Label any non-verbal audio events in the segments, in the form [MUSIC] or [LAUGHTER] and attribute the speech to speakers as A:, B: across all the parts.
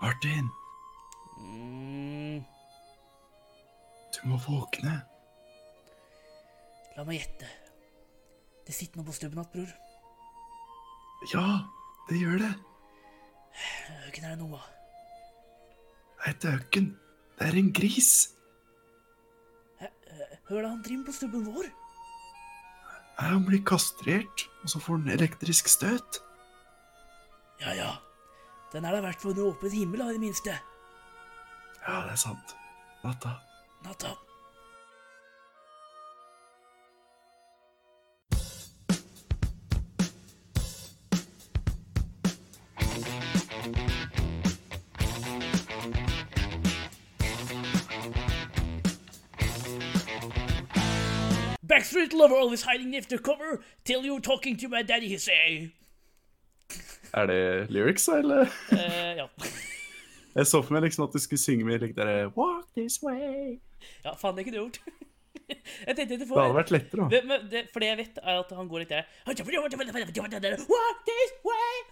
A: Martin,
B: Mm,
A: du må våkne.
B: la meg gjette. Det sitter noe på stubben igjen, bror.
A: Ja, det gjør det.
B: Hvem er det nå, da?
A: Nei, det er jo ikke en Det er en gris.
B: Hør da, han driver på stubben vår.
A: Nei, han blir kastrert, og så får han elektrisk støt.
B: Ja, ja. Den er da verdt for under åpen himmel, da, i det minste.
A: Ja, det er sant. Natta.
B: Natta. Backstreet lover always hiding after cover till you're talking to my daddy, he say. [LAUGHS]
A: Er det lyrics, eller?
B: Eh, [LAUGHS] ja.
A: Jeg så for meg liksom at du skulle synge med like, der, Walk this way.
B: ja, faen, det kunne [LAUGHS] du gjort. Jeg tenkte det
A: Det hadde vært lettere, da.
B: Det, men det, for det jeg vet, er at han går litt der Walk this way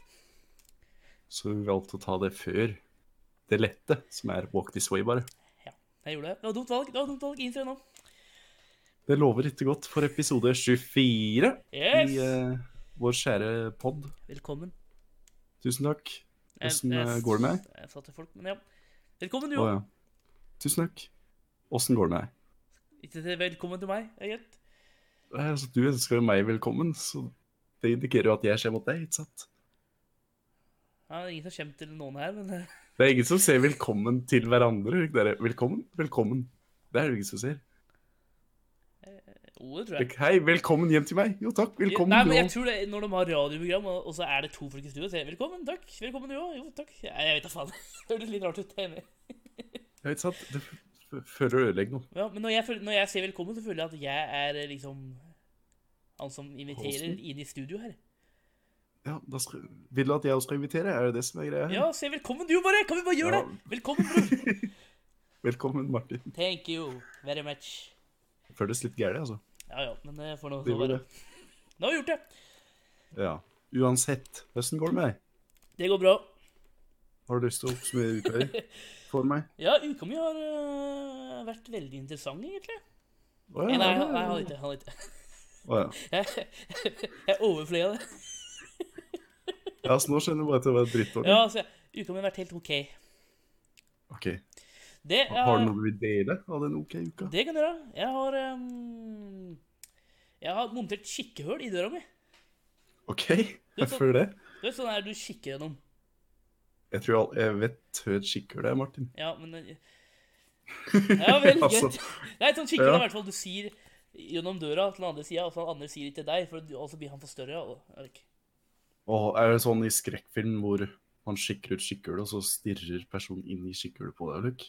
A: Så vi valgte å ta det før det lette, som er Walk this way, bare.
B: Ja, jeg gjorde det. Det var dumt valg. det var dumt valg, Innser jeg nå.
A: Det lover ikke godt for episode 24
B: Yes!
A: i eh, vår kjære pod.
B: Velkommen.
A: Tusen takk.
B: Jeg-
A: Hvordan
B: jeg-
A: eh, går det med deg?
B: Jeg sa til folk, men ja. Velkommen, du
A: Å
B: òg.
A: ja. Tusen takk. Åssen går det med deg?
B: Ikke til velkommen til meg, egentlig.
A: Eh, Altså, du ønsker jo meg velkommen, så det indikerer jo at jeg kommer mot deg. ikke sant?
B: Ja, det er ingen som kommer til noen her, men eh, [LAUGHS]
A: Det er ingen som sier velkommen til hverandre. ikke dere? Velkommen, velkommen. Det er det ingen som sier.
B: ordet, tror jeg.
A: Ikke, Hei, velkommen hjem til meg. Jo takk, velkommen.
B: Nei,
A: du
B: men jeg
A: også.
B: tror det, Når de har radioprogram, og og så er det to folk i studio, så er det velkommen, takk. Velkommen, du òg. Jo, takk. Ja, jeg vet da faen. [LAUGHS] Det høres litt rart ut. jeg er enig.
A: Ja, ikke sant? Det f- f- føler å ødelegge noe.
B: Ja, men når jeg, føler, når jeg sier velkommen, så føler jeg at jeg er eh, liksom han som inviterer
A: Hosten?
B: inn i studio her.
A: Ja, da skal, Vil du at jeg også skal invitere? Er det det som er greia? her?
B: Ja, si velkommen du bare! Kan vi bare gjøre
A: Ja.
B: det? Velkommen, bror!
A: [LAUGHS] Velkommen, Martin.
B: Thank you very much.
A: Det Føles litt gærent, altså.
B: Ja ja, men det får nå
A: Det
B: så
A: gjør
B: være.
A: det.
B: Nå har vi gjort det.
A: Ja. Uansett, hvordan går det med deg?
B: Det går bra.
A: Har du lyst til å oppsummere uka di for meg?
B: Ja, uka mi har øh, vært veldig interessant, egentlig.
A: Å
B: [LAUGHS] Nei,
A: ja.
B: nei, nei, jeg har ikke. Jeg, har ikke.
A: Å
B: [LAUGHS]
A: ja.
B: jeg, jeg overfløy av det.
A: ja, så nå skjønner jeg bare at det var et drittår.
B: Ja, altså, uka mi har vært helt OK.
A: Ok.
B: Det,
A: Ha- Har du
B: er-
A: noe du vil dele av den ok uka?
B: det kan du gjøre. Jeg har øhm, Jeg har montert kikkehull i døra mi.
A: Ok,
B: Du,
A: [LAUGHS] jeg
B: så-
A: føler det.
B: Du vet sånn her du kikker gjennom.
A: Jeg tror jeg, jeg vet hva et skikkhull er, Martin.
B: Ja, men øh,
A: [LAUGHS]
B: Ja vel, greit.
A: Altså,
B: Nei, sånn skikkelig
A: Ja.
B: i hvert fall. Du sier gjennom døra til den andre sida, og så den andre sier det til deg, for du- og så blir han for større. Og, er det ikke?
A: og er det sånn i skrekkfilm hvor man skikker ut skikkhullet, og så stirrer personen inn i skikkhullet på deg, Luke?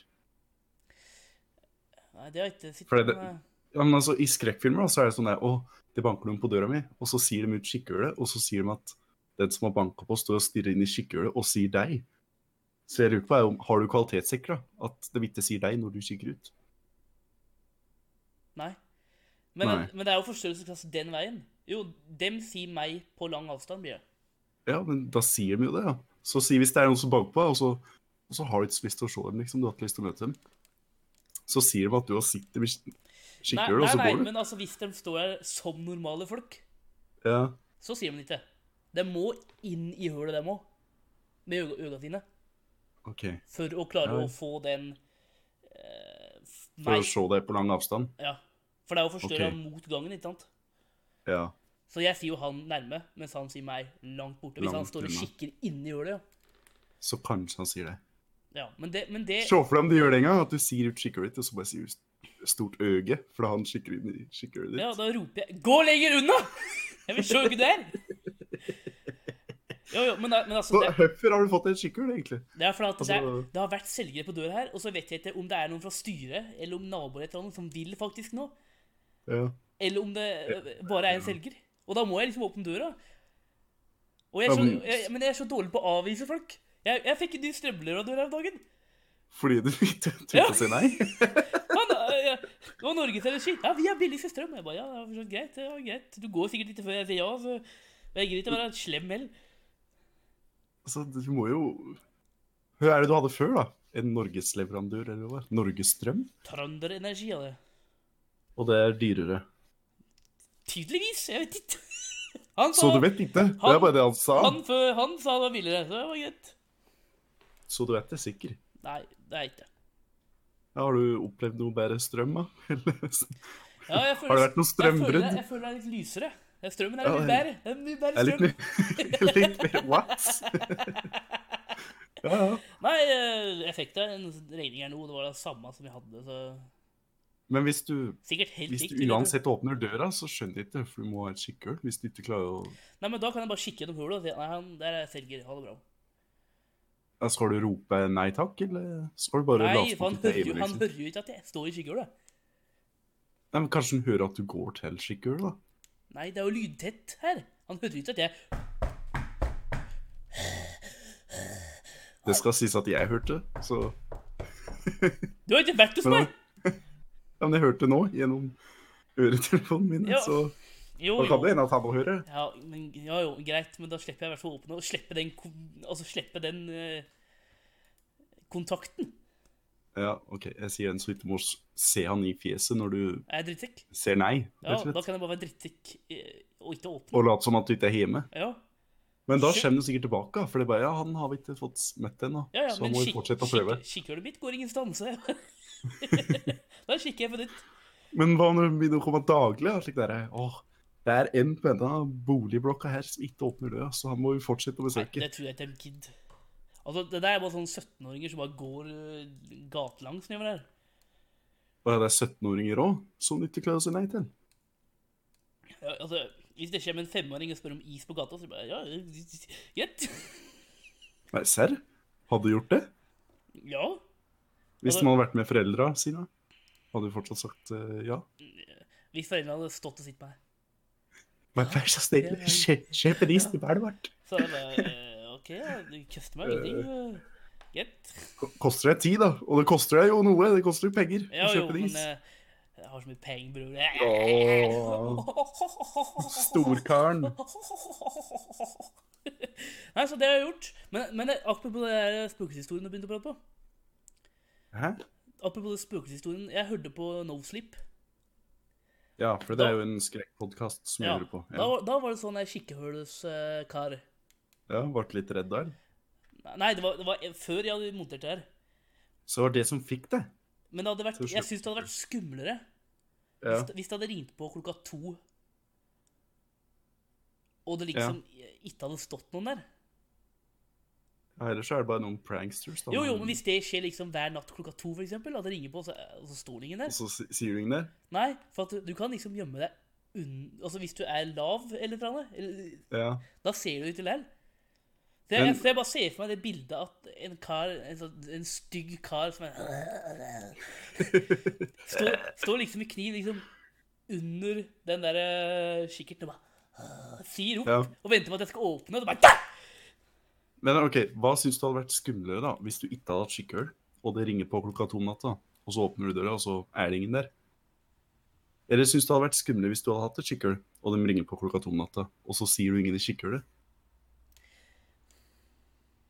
B: Nei, det har jeg ikke sett.
A: For det-
B: men, eh,
A: Ja, men altså, I skrekkfilmer da, så er det sånn der, å, det banker noen på døra mi, og så sier de ut skikkhullet, og så sier de at den som har banka på, står og stirrer inn i skikkhullet og sier deg. Så jeg lurer på, er om- har du kvalitetssikra at de ikke sier deg når du kikker ut?
B: Nei. Men,
A: Nei.
B: men det er jo forstørrelsesklasse den veien. Jo, dem sier meg på lang avstand, blir det.
A: Ja, men da sier de jo det, ja. Så si hvis det er noen som banker på deg, og så, og så har du ikke så lyst til å se dem, liksom, du har ikke lyst til å møte dem. Så sier de at du har sett dem i sk-
B: Nei,
A: skikkhullet, og
B: nei,
A: så
B: nei
A: går du.
B: men altså, hvis de står her som normale folk,
A: Ja.
B: så sier de det ikke. De må inn i hølet, dem òg. Med øga øga sine.
A: Ok,
B: For å klare
A: Ja.
B: å få den eh, f-
A: for
B: Nei.
A: å se deg på lang avstand.
B: Ja. For det er jo forstørra
A: Ok.
B: mot gangen, ikke sant?
A: Ja,
B: Så jeg sier jo han nærme, mens han sier meg langt borte. Hvis han
A: Langt
B: står og
A: unna.
B: kikker inni hullet, ja.
A: så kanskje han sier det.
B: ja. Men det, men det
A: Se for deg om du gjør det en gang, at du sier ut skikkhullet ditt, og så bare sier du st- stort øge, for da han kikker inn i skikkhullet ditt.
B: Ja, da roper jeg 'Gå lenger unna!' Jeg vil se ikke der! Jo, jo, men, da- men altså
A: Så
B: det,
A: hvorfor har du fått et skikkhull, egentlig?
B: det er fordi at det, er-
A: Altså-
B: det har vært selgere på døra her, og så vet jeg ikke om det er noen fra styret, eller om naboer eller noe som vil faktisk nå,
A: Ja.
B: eller om det øh, bare er en selger. Og da må jeg liksom åpne døra. Og jeg er
A: Ja,
B: så,
A: men-
B: jeg, men jeg er så dårlig på å avvise folk. Jeg, jeg fikk en ny strømler av døra her om dagen.
A: Fordi du [LAUGHS] ikke turte
B: Ja.
A: å si nei?
B: Han, eh, ja, det var Norges Energi. Ja, vi er billigst i strøm. Jeg bare, ja, det er forstått greit, det var greit. Du går sikkert litt før jeg sier ja, så jeg gidder ikke å være en slem heller.
A: Altså, du må jo Hva er det du hadde før, da? En norgesleverandør, eller hva? Norgesstrøm?
B: Trønderenergi av det.
A: Og det er dyrere.
B: Tydeligvis. Jeg vet ikke. [LAUGHS] Han
A: Så du vet ikke? Det
B: han-
A: er bare det han sa.
B: Han, før, han sa det var billigere, så det var greit.
A: Så du vet det sikker.
B: Nei, det er ikke det.
A: Ja, har du opplevd noe bedre strøm, da? [LAUGHS] Eller-
B: Ja, jeg føler-
A: har det vært noe
B: jeg føler-
A: strømbrudd?
B: Jeg føler det er litt lysere. Ja, Strømmen er
A: Ja,
B: litt bedre. Det er mye
A: Det er
B: bedre
A: litt,
B: strøm.
A: mer- [LAUGHS] litt mer
B: [LAUGHS]
A: What? ja, ja.
B: Nei, eh, effekten av en regning er noe. Det var det samme som vi hadde, så
A: Men hvis du,
B: sikkert helt
A: hvis
B: likt.
A: du
B: vil jeg tro.
A: uansett åpner døra, så skjønner jeg ikke, for du må ha et skikkøl hvis du ikke klarer å
B: Nei, men da kan jeg bare kikke gjennom hullet og si nei, han, der er selger. Ha det bra.
A: Ja, Skal du rope nei takk, eller skal du bare
B: Nei,
A: late
B: for
A: som
B: han
A: at det er
B: hører, jo,
A: hjemme?
B: han
A: Liksom?
B: hører jo ikke at jeg står i skyggehulet.
A: Nei, men Kanskje hun hører at du går til skikkøl, da?
B: Nei, det er jo lydtett her. Han hører ikke at jeg
A: Det skal sies at jeg hørte, så
B: Du har ikke vært hos
A: Men han-
B: meg!
A: Ja, men jeg hørte nå gjennom øretelefonene mine,
B: Ja.
A: så
B: Jo,
A: da kan det
B: jo.
A: hende at han må høre.
B: Ja, men, ja, jo, greit, men da slipper jeg i hvert fall å åpne og slippe den, kon- altså, slippe den eh, kontakten.
A: Ja, OK, jeg sier en så ikke må se han i fjeset når du
B: Er jeg drittsekk?
A: ser nei,
B: Ja,
A: rett og
B: da
A: slett.
B: kan jeg bare være drittsekk eh, og ikke åpne.
A: Og late som at du ikke er hjemme.
B: Ja,
A: Men da
B: Shit.
A: kommer du sikkert tilbake, da, for det er bare ja, han har vi ikke fått møtt ennå.
B: ja, ja
A: så
B: men
A: må vi
B: kikk-
A: fortsette å
B: kikk-
A: prøve.
B: kikkhullet mitt går ingen
A: [LAUGHS]
B: stanse. da kikker jeg på ditt.
A: Men hva når det begynner å komme daglig? da, Slik der, åh, det er en på denne boligblokka her som ikke åpner døra, så han må vi fortsette å
B: Nei,
A: besøke.
B: det tror jeg ikke de gidder. Altså, det der er bare sånne 17-åringer som bare går eh, gatelangs nedover her.
A: Og det er 17-åringer òg som du ikke klarer å si nei til.
B: Ja, altså, hvis det kommer en femåring og spør om is på gata, så bare ja, greit.
A: Nei, serr? Hadde du gjort det?
B: Ja.
A: Hvis
B: Hadde-
A: man hadde vært med foreldra sine? Hadde du fortsatt sagt eh, ja?
B: Hvis foreldrene hadde stått og sett på meg.
A: Men vær så snill,
B: Ja, ja.
A: kjø- kjøp en is til Berlevart.
B: Så hadde jeg bare eh, OK, ja, du koster meg ingenting. eh, Greit.
A: Koster deg tid, da. Og det koster deg jo noe. Det koster jo penger å
B: Ja, jo,
A: kjøpe en
B: men
A: is.
B: eh, jeg har så mye penger, bror.
A: Storkaren.
B: [LAUGHS] Nei, så det har jeg gjort. Men, men eh, apropos det der spøkelseshistorien du begynte å prate på.
A: Hæ?
B: Apropos det spøkelseshistorien, jeg hørte på No Sleep.
A: Ja, for det er jo en skrekkpodkast som jeg
B: Ja,
A: hører på.
B: Da,
A: Ja.
B: var- da var det sånn der eh, kikkehøles-kar.
A: ja, Ble litt redd der.
B: Nei, det var, det var før jeg hadde montert det her.
A: Så var det som fikk det.
B: Men det hadde vært,
A: Så slutt.
B: jeg syns det hadde vært skumlere
A: Ja.
B: hvis, hvis det hadde ringt på klokka to, og det liksom ikke hadde stått noen der.
A: Ja, Ellers så er det bare noen pranksters. Da,
B: Jo, jo, men hvis det skjer liksom hver natt klokka to, for eksempel, at det ringer på, og så, og så står det ingen
A: Og
B: der
A: så si- sier du ingen der.
B: Nei, for at du, du kan liksom gjemme deg unn... Altså, hvis du er lav eller noe annet, eller-
A: Ja.
B: da ser du ikke likevel. Så jeg,
A: Men-
B: så jeg bare ser for meg det bildet at en kar, en, sånn, en stygg kar som er [LAUGHS] står, står liksom med kniv liksom under den der eh, kikkerten og bare sier opp
A: Ja.
B: og venter på at jeg skal åpne, og så bare
A: Men ok, hva syns du hadde vært skumlere da, hvis du ikke hadde hatt skikkøl, og det ringer på klokka to om natta, og så åpner du døra, og så er det ingen der? Eller syns du hadde vært skumlere hvis du hadde hatt et skikkøl, og de ringer på klokka to om natta, og så sier du ingen i skikkølet? [LAUGHS]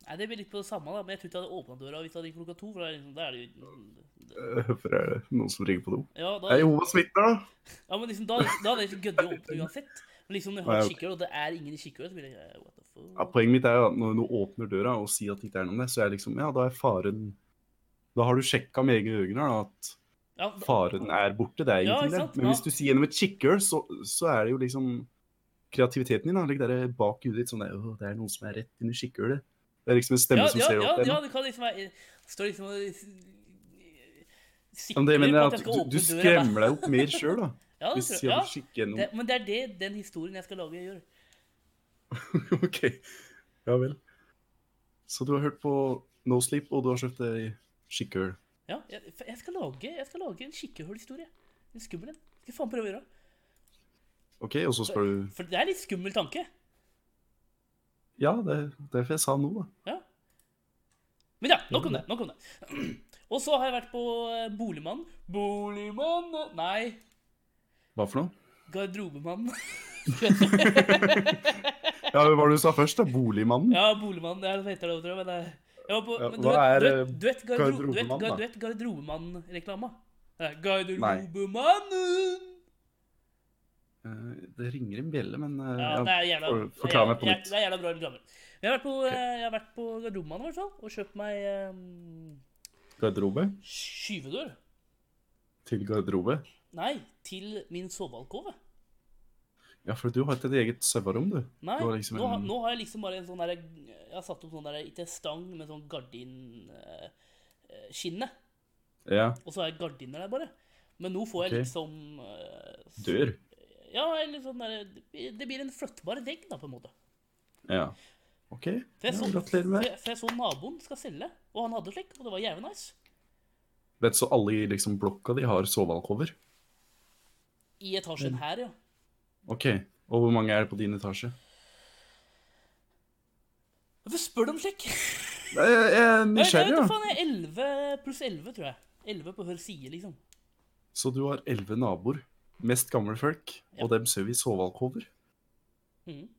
B: Nei, det blir litt på det samme, da, men jeg tror ikke jeg hadde åpna døra hvis det hadde ringt klokka to. For da er det liksom, da er det jo
A: Eh, Hvorfor er det noen som ringer på do?
B: Ja, da,
A: Er Jehovas vitner, da?
B: ja men liksom, da, da hadde jeg ikke giddet å åpne uansett. Men liksom, når jeg
A: Nei,
B: har
A: ok.
B: kikkhull, og det er ingen i kikkhullet, så blir jeg eh, What the fuck?
A: Ja, poenget mitt er jo at når du åpner døra og sier at det ikke er noen der, så er det liksom Ja, da er faren Da har du sjekka med egne øyne da, at
B: Ja, da-
A: faren er borte, det er
B: Ja,
A: ingenting
B: ikke
A: det.
B: sant?
A: Men
B: Ja.
A: hvis du sier gjennom et kikkøl, så, så er det jo liksom kreativiteten din. da, ligger der bak hudet ditt sånn der, «Åh, det er noen som er rett under kikkølet. Det er liksom en stemme
B: ja,
A: som
B: ja,
A: ser
B: ja,
A: opp til
B: ja,
A: deg.
B: det kan liksom være Står liksom og s- sikrer
A: Men det mener
B: på
A: jeg
B: jeg
A: at
B: skal
A: du,
B: åpne
A: du
B: døra.
A: skremmer deg opp mer sjøl, da.
B: [LAUGHS] Ja, det
A: Hvis du
B: tror
A: sier
B: jeg. ja.
A: at du kikker
B: Det,
A: gjennom
B: men det er det den historien jeg skal lage, gjør.
A: [LAUGHS] OK. Ja vel. Så du har hørt på No Sleep, og du har kjøpt deg kikkøl.
B: Ja, jeg, for jeg, skal lage, jeg skal lage en kikkehullhistorie. En skummel en. Skal faen prøve å gjøre.
A: OK, og så spør du
B: For det er litt skummel tanke.
A: Ja, det er derfor jeg sa nå, da.
B: Ja. Men ja, nok om det. [CLEARS THROAT] nok om det. Og så har jeg vært på eh, Boligmann. Boligmann Nei,
A: Hva for noe?
B: Garderobemann.
A: Ja, Hva var det du sa først, da? Boligmannen?
B: Ja, Boligmann, det er- det heter det, tror jeg. Men det, Jeg var på,
A: Ja,
B: men du,
A: hva
B: vet,
A: er,
B: du,
A: eh,
B: vet, du vet garderob- du vet-
A: garderobemann, da?
B: du vet Garderobemann-reklama? Eh, Garderobemannen!
A: Eh, Det ringer en bjelle, men eh,
B: Ja,
A: ja,
B: det er jævla,
A: for- forklar meg på
B: det er-
A: nytt.
B: Det er jævla bra reklamer. Men Jeg har vært på,
A: Ok.
B: eh, jeg har vært på Garderobemannen i hvert fall, og kjøpt meg eh,
A: garderobe
B: skyvedør.
A: til garderobe.
B: Nei, til min sovealkove.
A: Ja, for du har ikke et eget sauerom, du.
B: Nei,
A: Det var liksom
B: nå, har-
A: en-
B: nå har jeg liksom bare en sånn der Jeg har satt opp sånn der, ikke stang, men sånn gardin eh, eh, skinne.
A: Ja,
B: Og så er gardiner der bare. Men nå får jeg
A: Ok.
B: liksom eh, s-
A: dør.
B: Ja, eller sånn der Det blir en flyttbar vegg, da, på en måte.
A: Ja. OK.
B: For
A: Ja,
B: jeg, så,
A: gratulerer med
B: for
A: det.
B: jeg- for jeg så naboen skal selge, og han hadde slik, og det var jævlig nice.
A: Vet så alle i liksom, blokka di har sovealkover?
B: I etasjen her, ja.
A: OK. Og hvor mange er det på din etasje?
B: Hvorfor spør du om slik?
A: Nei, Eh, Jeg jeg er
B: Nei, jeg
A: nysgjerrig,
B: vet da
A: ja.
B: faen. Jeg er 11 pluss 11, tror jeg. 11 på hver side, liksom.
A: Så du har elleve naboer, mest gamle folk, og dem sover i sovealkover?
B: Mhm.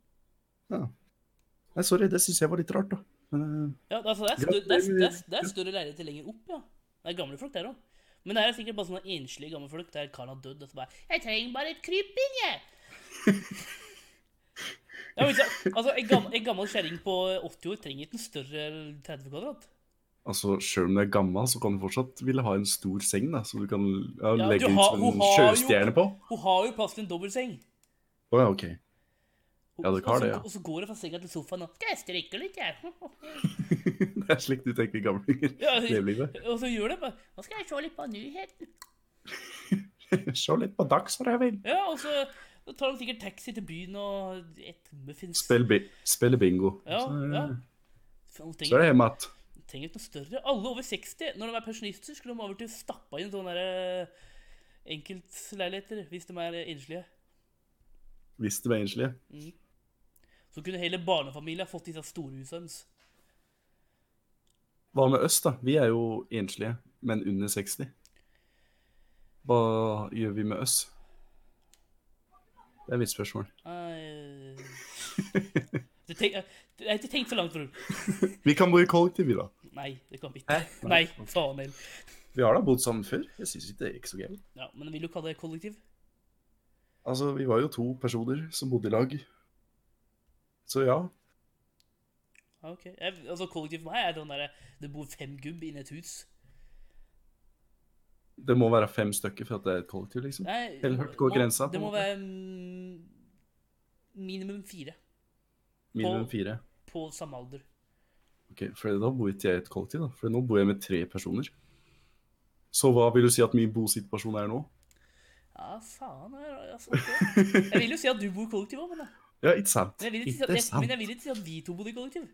A: Nei, sorry, det syns jeg var litt rart, da. Men eh,
B: Ja, altså, det er, større, det, er, det, er, det er større leiligheter lenger opp, ja. Det er gamle folk der òg. Men det her er sikkert bare sånne enslige gamle folk der karen har dødd. Og så bare 'Jeg trenger bare et krypinn, jeg'. ja, men, ikke sant? altså, En gammel, en gammel kjerring på 80 år trenger ikke en større 30 kvadrat.
A: altså, sjøl om du er gammel, så kan du fortsatt ville ha en stor seng, da, så du kan ja,
B: Ja,
A: legge
B: du
A: ut
B: har-
A: som
B: hun
A: en
B: har jo-
A: sjøstjerne på.
B: Hun har jo plass til en dobbeltseng.
A: Å ja, OK. [LAUGHS]
B: Og-
A: Ja, dere har
B: og så-
A: det, ja.
B: Og så går hun fra senga til sofaen og 'Skal jeg strikke litt, jeg?'
A: Det er slik du tenker gamlinger.
B: [LAUGHS] Ja,
A: Levelivet.
B: [LAUGHS] og så gjør det bare 'Nå skal jeg se litt på nyheten'.
A: Se litt på Dagsrevyen.
B: Ja, og så tar hun sikkert taxi til byen og et muffins.
A: Spill, bi spille bingo.
B: Ja,
A: så, eh,
B: ja. Faen, hun
A: så er
B: trenger,
A: det hjemme igjen.
B: trenger ikke noe større. Alle over 60, når de er pensjonister, skulle de over til å stappe inn sånne der, eh, enkeltleiligheter, hvis de er eh, enslige.
A: Hvis de er enslige.
B: Så kunne hele barnefamilien fått disse store husene deres.
A: Hva med oss, da? Vi er jo enslige, men under 60. Hva gjør vi med oss? Det er mitt spørsmål. [LAUGHS]
B: Nei, du tenk, jeg har ikke tenkt så langt forut.
A: Vi kan bo i kollektiv, vi, da.
B: Nei, det kan vi ikke. Nei, faen heller.
A: Vi har da bodd sammen før. Jeg syns ikke det gikk så gærent.
B: Ja, men vil du kalle det kollektiv?
A: Altså, vi var jo to personer som bodde i lag. Så ja.
B: Ja, ok. Jeg, altså, kollektiv for meg er den der, eh, det bor fem gubb inne i et hus.
A: Det må være fem stykker for at det er et kollektiv, liksom.
B: Nei,
A: Eller hørt går
B: nå-
A: grensa, på
B: Det
A: en
B: må
A: måte?
B: være mm, minimum fire
A: Minimum
B: på-
A: fire.
B: på samme alder.
A: Ok, for da bor ikke jeg i et kollektiv, da. For nå bor jeg med tre personer. Så hva vil du si at min bosituasjon er nå? [LAUGHS]
B: Ja, faen. Jeg, altså, det- jeg vil jo si at du bor i kollektiv òg, men, da.
A: Ja, ikke sant?
B: men, jeg vil ikke si at-
A: Ikke
B: jeg- men
A: sant.
B: jeg vil ikke si at vi to bodde i kollektiv.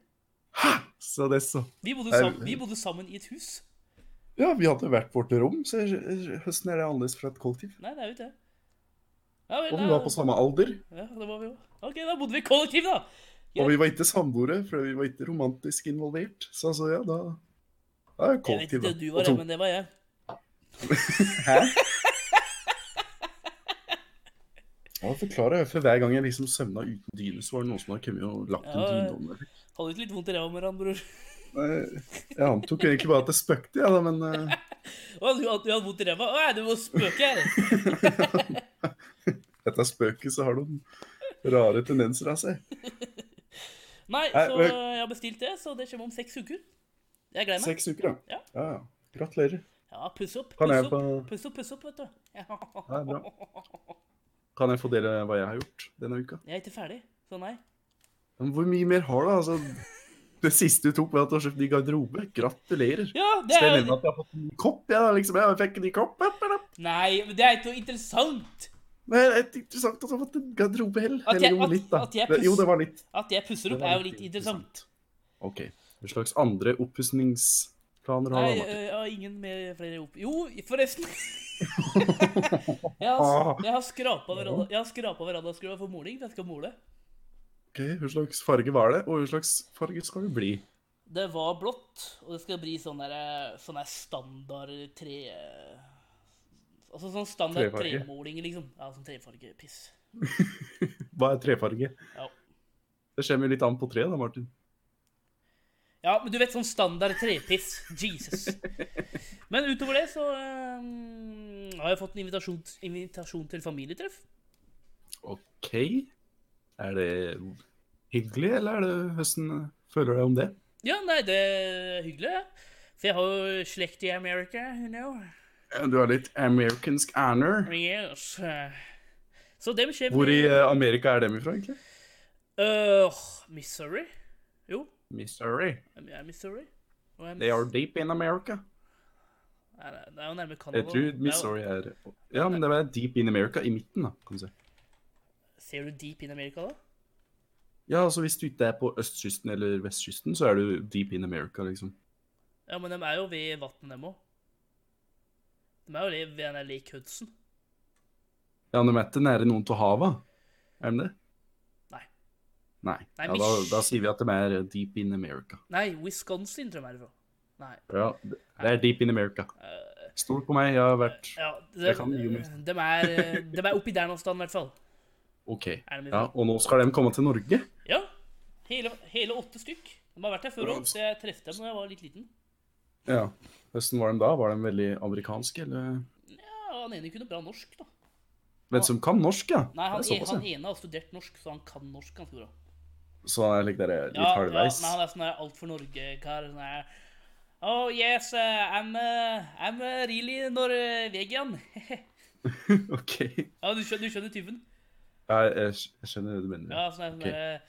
A: Så det er så.
B: Vi bodde,
A: Er-
B: sam, vi bodde sammen i et hus.
A: Ja, vi hadde hvert vårt rom, så høsten er det annerledes fra et kollektiv.
B: Nei, det er jo ikke det. Ja, vel,
A: Og vi
B: da-
A: var på samme alder,
B: ja, det var vi òg. OK, da bodde vi i kollektiv, da.
A: og vi var ikke samboere, for vi var ikke romantisk involvert. Så altså, ja, da, da er det kollektiv,
B: Jeg vet ikke
A: da.
B: om du var
A: Og to.
B: det, men det var jeg.
A: Ja, forklarer jeg, for hver gang jeg liksom søvna uten dyne, så var det noen som hadde kommet og lagt en
B: Ja, ja.
A: dyne om meg.
B: Hadde ikke litt vondt i ræva med han, bror.
A: Nei, Jeg antok egentlig bare at det spøkte, jeg, da, men eh,
B: Å, du, hadde- du hadde vondt i ræva? Å, ja, du må spøke her.
A: dette spøket så har noen rare tendenser av seg.
B: Nei,
A: Nei,
B: så
A: men-
B: jeg har bestilt det, så det kommer om seks uker. Jeg gleder meg.
A: Seks uker, da.
B: Ja.
A: Ja, ja. Gratulerer.
B: Ja, puss opp,
A: Kan
B: puss
A: jeg,
B: opp,
A: få,
B: puss opp, puss opp, vet du.
A: er kan jeg få dele hva jeg har gjort denne uka?
B: [LAUGHS] Jeg er ikke ferdig, så nei.
A: Men hvor mye mer har du? Altså, det siste du tok, var at du har kjøpt ny garderobe. Gratulerer.
B: Ja, det
A: Skal jeg
B: er
A: nevne at jeg har fått en ny kopp? Ja, da, liksom, jeg fikk en ny kopp. Ja, ja, ja.
B: Nei, men det er ikke noe interessant
A: Men det er interessant at du har fått en garderobe hell.
B: At jeg-
A: Eller jo,
B: at-
A: litt, da.
B: at jeg
A: Det- Jo,
B: pus-
A: det var litt.
B: at jeg pusser opp,
A: Det var
B: er jo
A: litt
B: litt interessant.
A: OK. Hva slags andre oppussingsplaner har
B: Nei,
A: du? Martin?
B: jeg har ingen mer flere opp. Jo,
A: [LAUGHS]
B: forresten. Jeg har,
A: Ah.
B: jeg har skrapa veranda- jeg har skrapa verandaskrua for moling, for jeg skal mole.
A: Ok, Hva slags farge var det, og hva slags farge skal det bli?
B: Det var blått, og det skal bli sånn der, sånn der standard tre... Altså sånn standard
A: Trefarge.
B: tremåling, liksom. Ja, sånn trefargepiss.
A: Hva er trefarge?
B: Ja.
A: Det kommer jo litt an på treet, da, Martin.
B: Ja, men du vet, sånn standard trepiss. Jesus. Men utover det så eh, har jeg fått en invitasjon, invitasjon til familietreff.
A: OK. Er det hyggelig, eller er det hvordan føler du deg om det?
B: Ja, nei, det er hyggelig. ja. For jeg har jo slekt i America, you know.
A: Eh, Du har litt americansk honor.
B: Yes. Så det vil skje
A: Hvor i eh, Amerika er dem ifra, egentlig?
B: Øh, Missouri? Jo,
A: Missouri.
B: det er Missouri. Og jeg-
A: They are deep in America.
B: Nei, nei, det er jo nærme Canada.
A: Jeg tror
B: Det er jo-
A: Missouri er Ja, men det var deep in America i midten, da, kan du si.
B: Ser du deep in America, da?
A: Ja, altså hvis du ikke er på østkysten eller vestkysten, så er du deep in America, liksom.
B: Ja, men de er jo ved vannet, dem òg. De er jo le- ved den der Lake Hudson.
A: Ja, de er ikke nære noen til havet, er de det?
B: Nei.
A: Nei.
B: Nei,
A: ja, da,
B: Mich-
A: da sier vi at de er deep in America.
B: Nei, Wisconsin, tror jeg de er fra. Nei.
A: Ja, det det er deep in America.
B: øh,
A: Stol på meg, jeg har vært
B: ja, de,
A: Jeg kan jo mye.
B: de, er, øh, de er oppi der noe sted, i hvert fall.
A: OK.
B: Er de
A: Ja,
B: ifra.
A: og nå skal de komme til Norge?
B: Ja. Hele, hele åtte stykk. De har vært her før òg, så jeg traff dem da jeg var litt liten.
A: Ja. Hvordan var de da? Var de veldig amerikanske, eller
B: Ja, og Han ene kunne bra norsk, da.
A: Vet du som kan norsk, ja?
B: Nei, han,
A: det er såpass,
B: han
A: ja.
B: ene har studert norsk, så han kan norsk ganske bra.
A: Så han er like der, litt
B: Ja,
A: halvveis?
B: Ja, nei, han er sånn der alt for Norge-kar. sånn der, Oh yes, eh, I'm, eh, I'm eh, really nor [LAUGHS] vegan. ja,
A: [LAUGHS] OK.
B: du skjønner, du skjønner typen?
A: Ja, jeg, skj- jeg skjønner det du mener.
B: Ja, sånn der, sånn
A: Ok.
B: der, eh,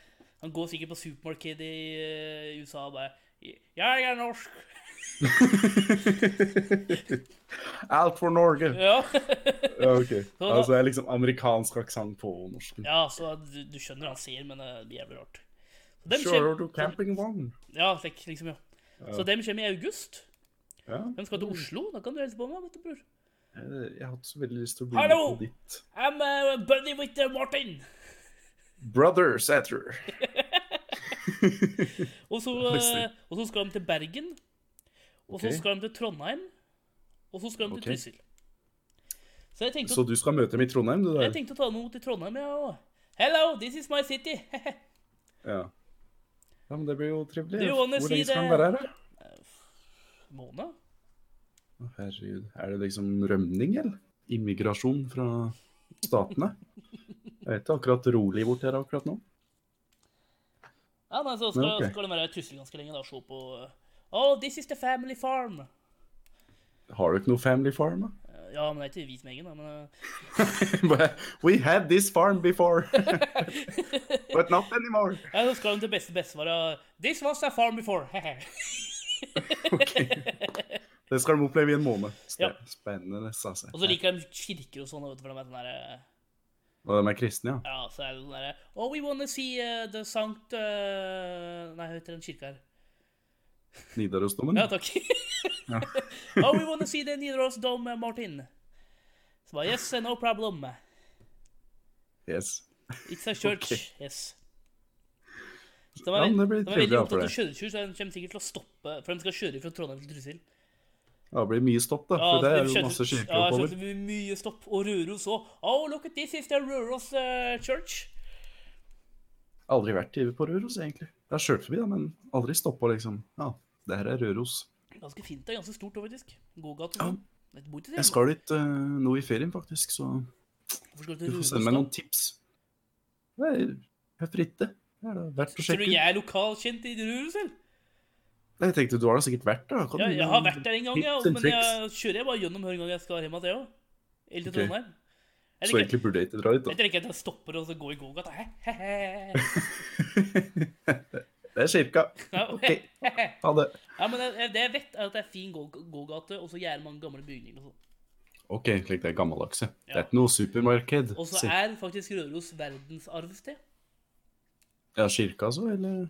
B: Han går sikkert på supermarked i eh, USA og bare Ja, jeg er norsk. [LAUGHS]
A: [LAUGHS] Alt for Norge!
B: Ja,
A: Ja, ok.
B: da-
A: Altså, det er liksom amerikansk aksent på norsken.
B: ja så du, du skjønner hva han sier, men eh, det er jævlig rart. Så dem
A: Kjører
B: kjem-
A: du campingvogn?
B: Ja, slik, liksom, ja. Så dem kommer i august.
A: Ja.
B: De skal
A: Mm.
B: til Oslo. Da kan du hilse på meg, vet du, bror.
A: Jeg Eh, jeg har hatt så veldig lyst til å bli med
B: Hallo!
A: på ditt.
B: I'm a buddy with eh, Martin.
A: Brothers, jeg tror.
B: Og så,
A: Ja, visst.
B: eh, og så skal de til Bergen. Og så
A: Ok.
B: skal de til Trondheim. Og så skal de til
A: Ok.
B: Trysil. Så jeg tenkte,
A: Så du skal møte dem i Trondheim, du
B: å,
A: der?
B: jeg tenkte å ta noe til Trondheim, jeg ja, òg. Hello, this is my city. [LAUGHS]
A: Ja. ja, men det blir jo trivelig.
B: Do you
A: Hvor
B: wanna
A: lenge
B: see
A: skal han
B: the-
A: være her, da?
B: Måned?
A: Å, Herregud, er det liksom rømning, eller? Immigrasjon fra statene? Jeg vet ikke akkurat rolig bort her akkurat nå.
B: Ja, nei, så skal,
A: Ja, ok.
B: skal de være i Trysil ganske lenge da, og se på eh, Oh, this is the family farm.
A: Har du ikke noe family farm, da?
B: Eh, Ja, men det er ikke hvit med egen, da. Men
A: [LAUGHS]
B: eh,
A: But We had this farm
B: [LAUGHS]
A: before, but not anymore.
B: ja, så skal de til beste bestefar. ja. This was a farm before. [LAUGHS]
A: [LAUGHS] Det skal de oppleve i en måned. Sp-
B: Ja.
A: Spennende, altså.
B: og så liker de kirker og sånn, vet du, for de er sånn der eh,
A: Og de er kristne, ja.
B: Ja, så er det sånn derre Oh, we wanna see uh, the Sankt uh, Nei, hva heter den kirka her?
A: Nidarosdomen.
B: Ja, takk. [LAUGHS] oh, we wanna see the Nidarosdom, uh, Martin. Så bare Yes, eh, no problem.
A: Yes.
B: It's a church. Yes. Så De
A: Ja,
B: er,
A: men
B: ja,
A: det blir
B: de er
A: trivelig
B: veldig
A: da for
B: opptatt av
A: deg.
B: kjøretur, så de kommer sikkert til å stoppe For de skal kjøre fra Trondheim til Trysil.
A: Ja, Det blir mye stopp, da.
B: Ja,
A: For det
B: så
A: er jo
B: kjører-
A: masse kirker
B: Ja,
A: oppover.
B: kjørte vi mye stopp. Og Røros òg. Oh, look at this, it's the Røros uh, church.
A: Aldri vært i- på Røros, egentlig. Jeg har kjørt forbi, da, men aldri stoppa, liksom. Ja, det her er Røros.
B: Ganske fint. Det er ganske stort, faktisk. Gågate.
A: Ja.
B: og sånn. Det bor ikke
A: Jeg
B: så
A: skal dit eh, nå i ferien, faktisk, så
B: Hvorfor skal
A: du
B: til
A: får
B: Røros
A: sende meg
B: da?
A: noen tips. Nei, Hvorfor ikke? Det er da verdt å
B: Tror du
A: sjekke. ut.
B: jeg er lokalkjent i Rurusen?
A: Nei, Jeg tenkte du har da sikkert vært der? da. Kan
B: Ja,
A: du-
B: jeg har vært der en gang, ja,
A: Tips and
B: men jeg kjører jeg bare gjennom hver gang jeg skal hjem til òg. Eller til
A: Ok.
B: Trondheim.
A: Så
B: Eller ikke,
A: egentlig burde jeg ikke dra dit, da.
B: jeg tror ikke at jeg stopper og så går i gågata. Hæ? Hæ? Hæ?
A: Det er kirka.
B: Ja,
A: Ok, ha det.
B: ja, men jeg- det jeg vet, er at det er fin gå- gågate, og så jævlig mange gamle bygninger og sånn.
A: Ok, slik det er gammeldagse. Det
B: Ja.
A: er ikke noe supermarked.
B: Og så
A: Si-
B: er faktisk Røros verdensarvsted.
A: Ja, kirka altså, eller?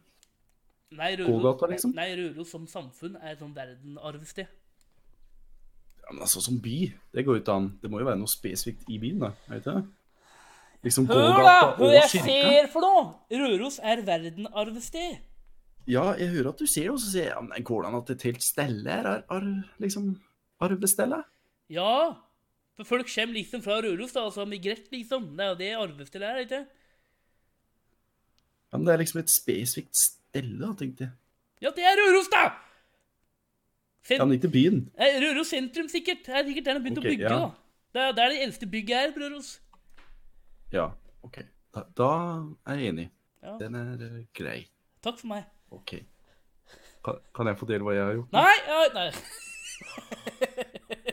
B: Nei,
A: Gågata,
B: Røros,
A: liksom?
B: nei, Røros som samfunn er et sånn sånt verdensarvsted.
A: Ja, men altså, som by, det går jo ikke an. Det må jo være noe spesifikt i byen, da, vet du? Liksom
B: Hør,
A: gågata
B: da! Hør,
A: og
B: jeg
A: kirka.
B: ser for noe! Røros er verdenarvsted.
A: Ja, jeg hører at du ser det, og så sier jeg, ja, men nei, går det an at et helt stelle er ar ar liksom arvestelle?
B: Ja. For folk kommer liksom fra Røros, da, altså migrert, liksom. Det er jo det arvestil er, ikke
A: Ja, men det er liksom et spesifikt stelle, da, tenkte jeg.
B: Ja, det er Røros, da!
A: Ja,
B: Sen
A: men ikke byen.
B: Nei, Røros sentrum, sikkert. Det er sikkert der de har begynt
A: Ok,
B: å bygge.
A: ja.
B: da. Det er, det er det eneste bygget her, Røros.
A: Ja, OK. Da, da er jeg enig.
B: Ja.
A: Den er eh, grei.
B: Takk for meg.
A: OK. Kan, kan jeg få dele hva jeg har gjort?
B: Nei, ja, nei.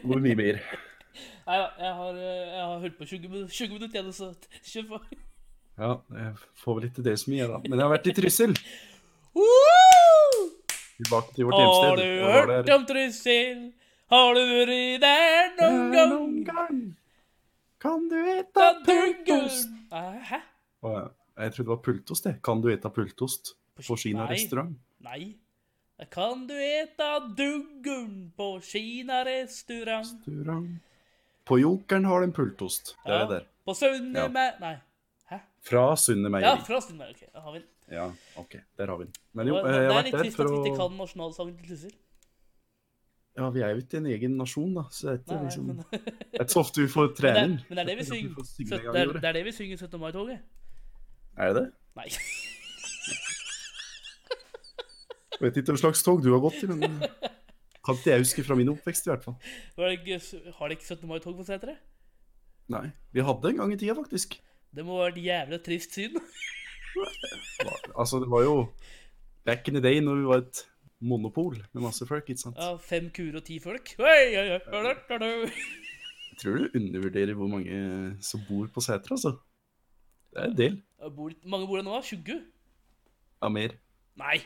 A: Hvor mye mer?
B: nei ja, jeg, har, eh, jeg har holdt på 20 minutter, 20 minutter igjen, så [LAUGHS] t- kjør på.
A: Ja, jeg får vel ikke det så mye, da. Men jeg har vært i Trysil.
B: Woo!
A: Tilbake til vårt
B: Har
A: hjemsted.
B: du
A: Jeg var
B: hørt
A: der
B: om Trysil? Har du vært der noen gang?
A: noen gang. Kan du
B: Da
A: eta
B: dunker
A: pultost?
B: Nei, Hæ?
A: Å, ja. Jeg trodde det var pultost, det. Kan du eta pultost på
B: Kina-
A: Kina
B: Nei.
A: restaurant?
B: Nei. Kan du eta duggen på Kina-restaurant?
A: restaurant? På Jokeren har de pultost. Det er
B: Ja,
A: det der.
B: På Sunne
A: Ja.
B: med Nei. Hæ?
A: Fra Sunne
B: Ja,
A: Meieri.
B: fra Sunne. Ok, da har vi den.
A: Ja, OK. Der har vi den. Men
B: Det
A: jo,
B: var-
A: jeg
B: det
A: har
B: er
A: vært
B: litt
A: der
B: trist at
A: for
B: vi
A: å
B: ikke kan nasjonalsangen til Trysil.
A: Ja, vi er jo ikke en egen nasjon, da, så det er
B: Nei,
A: ikke liksom
B: men, [LAUGHS] men,
A: Det er ikke så ofte vi får
B: det,
A: trening.
B: men det er det vi
A: Så vi
B: synger.
A: får synge
B: Søt-
A: en gang
B: Det
A: i
B: er,
A: året.
B: det er det vi synger i 17. mai-toget.
A: Er det det?
B: Nei. [LAUGHS]
A: Jeg vet ikke hva slags tog du har gått i,
B: [LAUGHS]
A: men kan ikke jeg huske fra min oppvekst, i hvert fall.
B: Var det ikke- Har de ikke 17. mai-tog på Setre?
A: Nei. Vi hadde en gang i tida, faktisk.
B: Det må være et jævla trist syn. [LAUGHS]
A: Altså, det var jo back in the day når vi var et monopol med masse folk, ikke sant.
B: Ja, fem kuer og ti folk. Oi, oi, oi, oi, oi, oi.
A: Jeg tror du undervurderer hvor mange som bor på Sæter, altså. Det er en del.
B: Ja, Bor, mange bor det nå? 20?
A: Ja, mer.
B: Nei.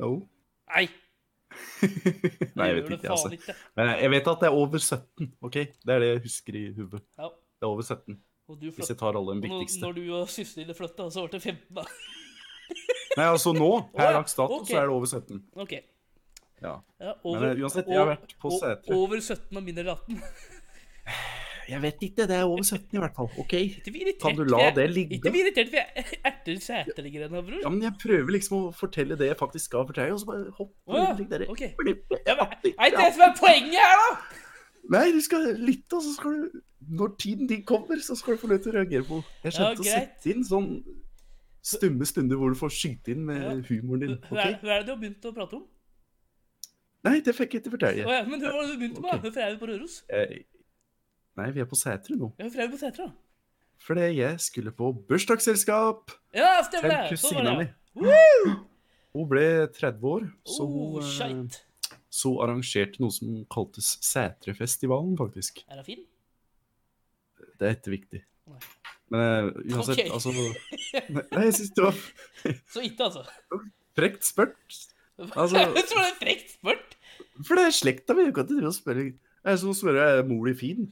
A: Jo.
B: Nei.
A: [LAUGHS] Nei, jeg
B: gjør
A: vet
B: det
A: ikke,
B: faen
A: altså.
B: ikke.
A: Men jeg vet at det er over 17, OK? Det er det jeg husker i hodet.
B: Ja,
A: Det er over 17,
B: og du
A: hvis
B: flytta.
A: jeg tar alle de
B: Når,
A: viktigste.
B: når du og søsteren flytta, så ble det 15, da. [LAUGHS]
A: Nei, altså nå,
B: Å,
A: per
B: ja,
A: dags dato,
B: ok.
A: så er det over 17.
B: OK.
A: Ja.
B: Ja,
A: Men eh, uansett, jeg har vært på
B: o-
A: Sætre.
B: Over 17 og mindre enn 18.
A: Jeg vet ikke, det er over 17 i hvert fall. OK?
B: [LAUGHS] Ikke bli irritert.
A: Kan du
B: for
A: la
B: jeg-
A: det ligge?
B: Ikke bli irritert, for jeg erter Sætre-grena, bror.
A: Ja, men jeg prøver liksom å fortelle det jeg faktisk skal fortelle, og så bare hopper
B: Å, ja.
A: du dere.
B: Ok.
A: Fordi-
B: Ja, men, er ikke det som er poenget her, da?
A: Nei, du skal lytte, og så skal du Når tiden din kommer, så skal du få lov til å reagere på Jeg
B: Ja,
A: skjønte å
B: greit.
A: sette inn sånn stumme stunder hvor du får skyte inn med
B: Ja.
A: humoren din.
B: Hva er,
A: ok?
B: hva er det du har begynt å prate om?
A: Nei, det fikk jeg ikke
B: Å
A: fortelle.
B: ja, men hva var det du begynte med? da?
A: Ok.
B: Hvorfor er vi på Røros?
A: Jeg- Nei, vi er på Sætre nå.
B: Ja, Hvorfor er vi på Setra?
A: Fordi jeg skulle på bursdagsselskap.
B: Ja, stemmer
A: Til
B: det! Sånn var
A: kusina
B: det, ja.
A: Hun ble 30 år, så,
B: Oh,
A: hun, eh,
B: shit.
A: så arrangerte noe som kaltes Sætrefestivalen, faktisk.
B: Er det fin?
A: Det er ikke viktig.
B: Nei.
A: Men eh, uansett,
B: Ok. [LAUGHS]
A: altså Nei, nei, jeg syns det var
B: Så ikke, altså.
A: frekt spurt.
B: [LAUGHS]
A: Altså-
B: så var det frekt spurt!
A: For det er slekta mi, du kan ikke drive og spørre Det er som å spørre er mor di fin.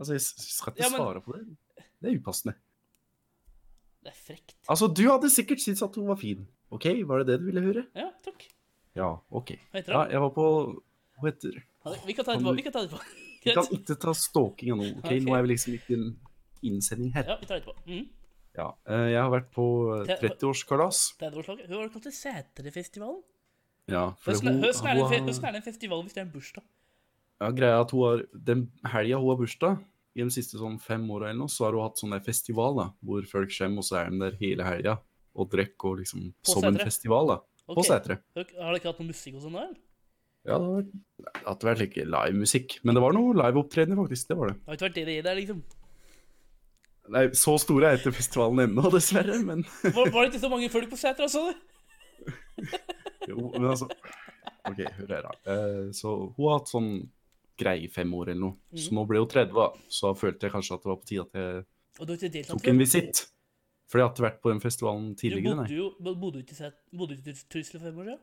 A: Altså, jeg s- skal ikke
B: Ja, men-
A: svare på det. Det er upassende.
B: Det er frekt.
A: Altså, du hadde sikkert syntes at hun var fin. OK, var det det du ville høre?
B: Ja, takk.
A: Ja, OK.
B: Hva heter
A: Ja,
B: det?
A: jeg var på Hva heter det?
B: Vi kan ta det på. Vi kan ta det på.
A: Vi kan
B: Greit.
A: ikke ta stalkinga nå, OK? Nå er vi liksom ikke i en innsending her.
B: [LAUGHS] Ja, vi tar det på. Mm.
A: Ja. eh, Jeg har vært på eh, 30-årskalas.
B: 30-årslaget. Hva var det kalt? det? Sæterefestivalen?
A: Ja, for
B: Høsten
A: hun,
B: er, høsten, er det en fe-
A: hun
B: høsten
A: har,
B: er det en festival hvis det er en bursdag.
A: ja, greia er at hun har Den helga hun har bursdag, i de siste sånn fem åra eller noe, så har hun hatt sånn der festival da, hvor folk kommer, og så er de der hele helga og drikker og liksom
B: På
A: Som en
B: Sætre?
A: festival, da. På
B: Ok.
A: Sætre.
B: Har dere ikke hatt noe musikk og sånn da? eller?
A: Ja, det har vært det hadde vært like livemusikk. Men det var noe liveopptredener, faktisk. Det var det.
B: Det har ikke vært det det der, liksom.
A: Nei, så store er ikke festivalen ennå, [LAUGHS] dessverre, men
B: Var, var det ikke så mange folk på altså? Sætra, sa du?
A: Jo, men altså OK, hør her, da. Eh, Så hun har hatt sånn greie fem år eller noe.
B: Mm.
A: Så nå ble hun 30, da. Så da følte jeg kanskje at det var på tide at jeg
B: Og du har ikke deltatt?
A: tok en
B: før?
A: visitt. For jeg hadde ikke vært på den festivalen
B: Du
A: tidligere,
B: bodde
A: nei.
B: jo bodde du ikke i Sæt- bodde du ikke i Trysil for fem år siden?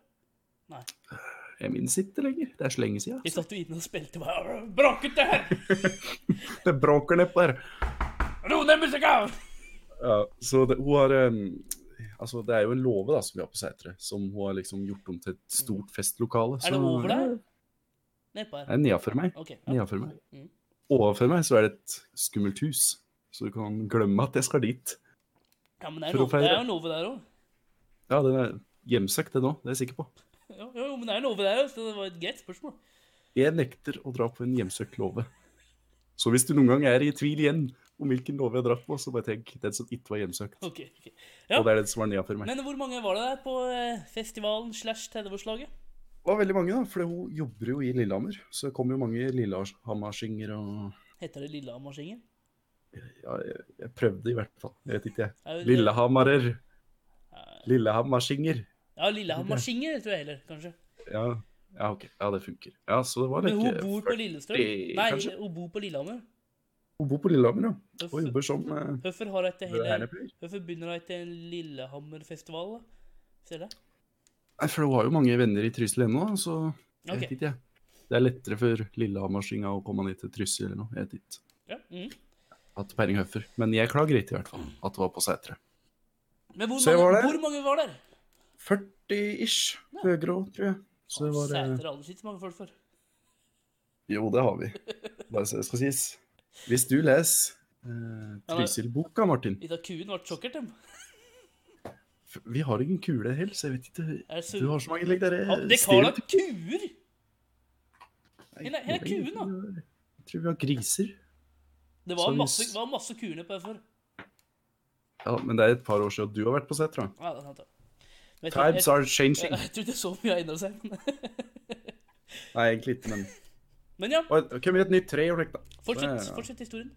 A: Jeg minnes ikke lenger. Det er så lenge siden.
B: Jeg satt jo inne og spilte bare Bråket det her!
A: [LAUGHS] Det bråker nedpå her.
B: Ro ned musikken!
A: Ja, så det, hun har em, Altså, det er jo en låve da, som vi har på Sætre, som hun har liksom gjort om til et stort festlokale.
B: Er det
A: så-
B: over der?
A: Ja,
B: Nedpå
A: Det
B: her.
A: er nedafor meg.
B: Ok. Ja.
A: Nedafor meg.
B: Mm.
A: Overfor meg så er det et skummelt hus, så du kan glemme at jeg skal dit.
B: ja, men det er
A: For å
B: noe, det er
A: feire.
B: jo noe der òg.
A: Ja, den er hjemsøkt, den òg. Det er jeg sikker på.
B: Jo, jo, men det er noe der òg, så det var et greit spørsmål.
A: Jeg nekter å dra på en hjemsøkt låve. Så hvis du noen gang er i tvil igjen, om hvilken låve jeg drakk på, så bare tenk den som ikke var hjemsøkt.
B: Ok, ok. Ja.
A: Og det er den som var nedafor meg.
B: Men hvor mange var det der på eh, festivalen slash 30-årslaget?
A: Det var veldig mange, da, for hun jobber jo i Lillehammer. Så det kom jo mange Lillehammersinger og
B: Heter det Lillehammersinger?
A: ja, jeg, jeg prøvde i hvert fall. Jeg vet ikke, jeg.
B: Er det-
A: Lillehammerer. Lillehammersinger.
B: Ja, Lillehammersinger tror jeg heller, kanskje.
A: Ja. ja, ok. Ja, det funker. Ja, så det var
B: Men hun
A: ikke
B: bor på Lillestrøm.
A: 40,
B: Nei,
A: kanskje?
B: hun bor på Lillehammer.
A: Hun bor på Lillehammer, ja. Og
B: Hvorfor
A: jobber som uh,
B: hvorfor har hun ikke hele
A: vernepleier.
B: Hvorfor begynner hun ikke en Lillehammerfestival, da? Ser du det?
A: Nei, for hun har jo mange venner i Trysil ennå, så jeg
B: Ok.
A: vet ikke, jeg. Det er lettere for Lillehammersinga å komme ned til Trysil eller noe. Jeg vet ikke.
B: Ja. Mm.
A: Hatt peiling høffer. Men jeg klager ikke, i hvert fall, at det var på Sætre.
B: Men hvor
A: Se,
B: mange,
A: var det?
B: hvor mange var der?
A: 40-ish. Høyre òg, tror jeg. Så det var eh,
B: Sæter aldri sitt så mange folk for.
A: Jo, det har vi. Bare så det skal sies. Hvis du leser eh, Trysil-boka, Martin
B: Litt av kuen ble sjokkert, dem.
A: f- Vi har ingen kule helt, så jeg vet ikke
B: Er det så...
A: Du har så mange legg der.
B: Ja, det kaller de kuer! Hvor er- hvor er kuen, da?
A: Jeg tror vi har griser.
B: Det var
A: Så
B: masse,
A: hvis-
B: var masse kuene på før.
A: Ja, Men det er et par år siden du har vært på Sætra.
B: Ja, det er sant, ja. Men jeg tror-
A: Times are
B: jeg,
A: changing.
B: [LAUGHS] jeg, jeg tror ikke så mye har endret seg. Men,
A: Nei, egentlig ikke, men
B: men ja,
A: Og det kommer et nytt tre i år, da.
B: fortsett,
A: Ja.
B: fortsett historien.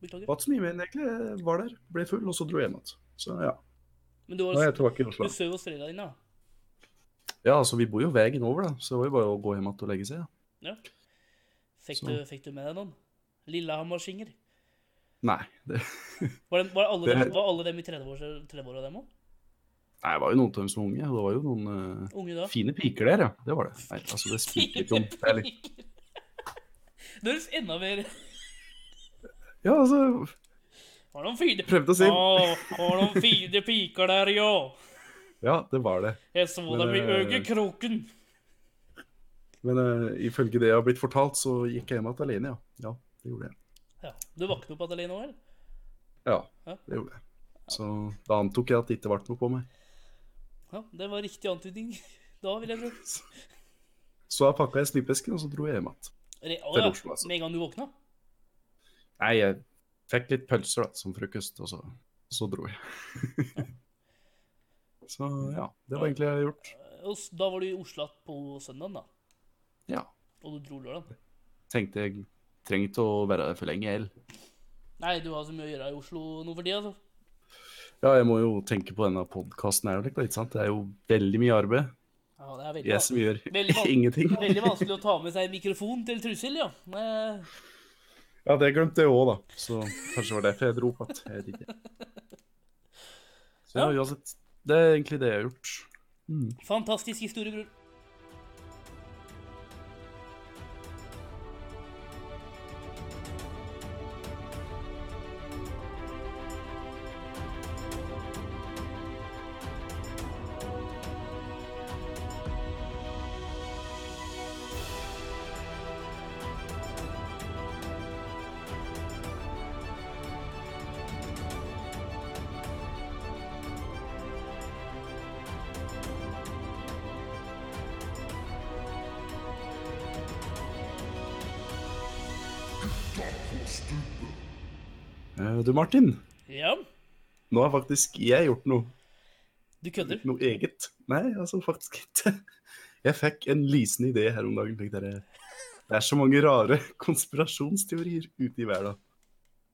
B: Beklager.
A: Var ikke så mye mer enn egentlig. Jeg Var der, ble full, og så dro jeg hjem igjen. Så ja.
B: Men du
A: Nå er
B: har
A: jeg tilbake i Oslo.
B: besøk hos foreldrene dine, da.
A: Ja, altså, vi bor jo veien over, da, så det var jo bare å gå hjem igjen og legge seg. Ja.
B: Fikk
A: Så.
B: du, fikk du med deg noen? Lillehammersinger.
A: Nei, det
B: Var, det, var, alle
A: Det-
B: dem, var alle dem i 30-års- 30-åra, dem òg?
A: Nei, det var jo noen av dem som var unge, og det var jo noen eh,
B: Unge da?
A: fine piker der, ja. Det var det. Nei, altså, det spilte ikke om det er litt...
B: Det høres enda mer
A: Ja, altså,
B: Var noen fine
A: prøvde å si
B: Å, var noen fine piker der, ja.
A: Ja, det var det.
B: Jeg så
A: Men,
B: dem i
A: eh,
B: øyekroken.
A: Men eh, ifølge det jeg har blitt fortalt, så gikk jeg hjem igjen alene, ja. Ja, det gjorde jeg.
B: Ja. Du våkna opp alene òg, eller?
A: Ja,
B: Ja.
A: det gjorde jeg. Så da antok jeg at det ikke ble noe på meg.
B: Ja, det var riktig antydning. Da vil jeg tro.
A: Så da pakka jeg snippesken, og så dro jeg hjem igjen.
B: Re å,
A: Til
B: ja.
A: Oslo, altså.
B: Med en gang du våkna?
A: Nei, jeg fikk litt pølser da, som frokost, og så, så dro jeg. [LAUGHS] så ja, det var egentlig det jeg har gjort.
B: Og s- Da var du i Oslo igjen på søndagen, da.
A: Ja,
B: Og du dro lørdag.
A: tenkte jeg trenger ikke å være der for lenge, jeg.
B: Nei, du har så mye å gjøre i Oslo nå for tida, altså.
A: Ja, jeg må jo tenke på denne podkasten her, jo litt, da, ikke sant? Det er jo veldig mye arbeid.
B: Ja, det er veldig,
A: Jeg som
B: vanskelig.
A: gjør [LAUGHS]
B: Veldig vanskelig.
A: ingenting.
B: veldig vanskelig å ta med seg mikrofon til Trussel, ja. Eh, Men,
A: Ja, det glemte jeg òg, da. Så kanskje det var derfor jeg dro på at Jeg vet ikke. Så ja, uansett. Det er egentlig det jeg har gjort. Mm.
B: fantastisk historie, bror.
A: Eh, Du, Martin.
B: Ja,
A: Nå har faktisk jeg gjort noe.
B: du kødder?
A: Noe eget? Nei, altså faktisk ikke. Jeg fikk en lysende idé her om dagen. tenkte jeg. Det er så mange rare konspirasjonsteorier ute i verden.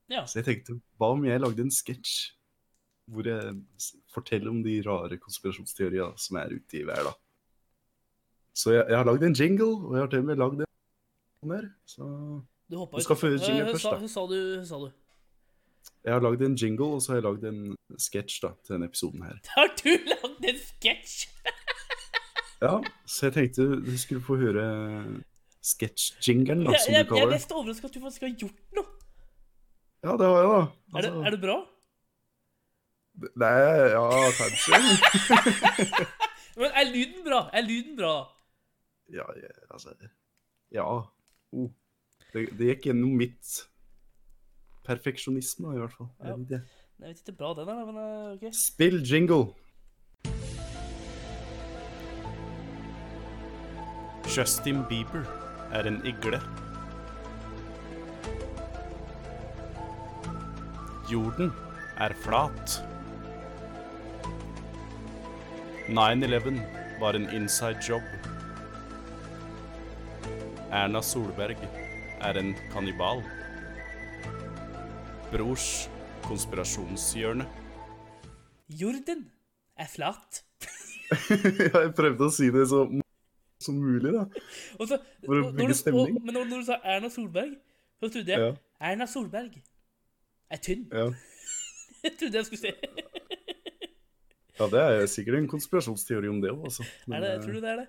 B: Ja.
A: Så jeg tenkte, hva om jeg lagde en sketsj hvor jeg s- forteller om de rare konspirasjonsteoriene som er ute i verden? Så jeg, jeg har lagd en jingle, og jeg har til og med lagd en sånn her. Så
B: Du hoppa
A: Du skal få jingle
B: Eh,
A: først,
B: sa-
A: da.
B: Hva sa du? Hva sa du? [LAUGHS]
A: jeg har lagd en jingle, og så har jeg lagd en sketsj da, til denne episoden her.
B: Har du lagd en sketsj?
A: Ja, så jeg tenkte du skulle få høre sketsj-jingelen, da,
B: Jeg,
A: som du
B: jeg, jeg er
A: kaller det.
B: mest overrasket at du faktisk har gjort noe.
A: Ja, det har jeg, da.
B: Er det,
A: Altså,
B: er det bra?
A: Nei, ja, kanskje.
B: Men er lyden bra? Er lyden bra?
A: Ja, jeg- altså Ja. Oh. Det, det gikk gjennom mitt perfeksjonisme, i hvert fall. Jeg
B: Ja.
A: vet ikke.
B: Jeg vet ikke bra den er, men eh, OK.
A: Spill jingle. Justin Bieber er en igle. Jorden er flat. 9-11 var en inside job. Erna Solberg er en kannibal. Brors konspirasjonshjørne.
B: Jorden er flat.
A: [LAUGHS] Jeg prøvde å si det så mo- som mulig, da.
B: Og så,
A: For å
B: og-
A: bygge
B: når du, og,
A: stemning.
B: men når, når du sa Erna Solberg, så trodde jeg
A: Ja.
B: Erna Solberg er tynn. [LAUGHS]
A: Ja.
B: Jeg trodde jeg skulle se.
A: ja, det er sikkert en konspirasjonsteori om det òg, altså. Men,
B: Er det,
A: eh,
B: tror du det er det?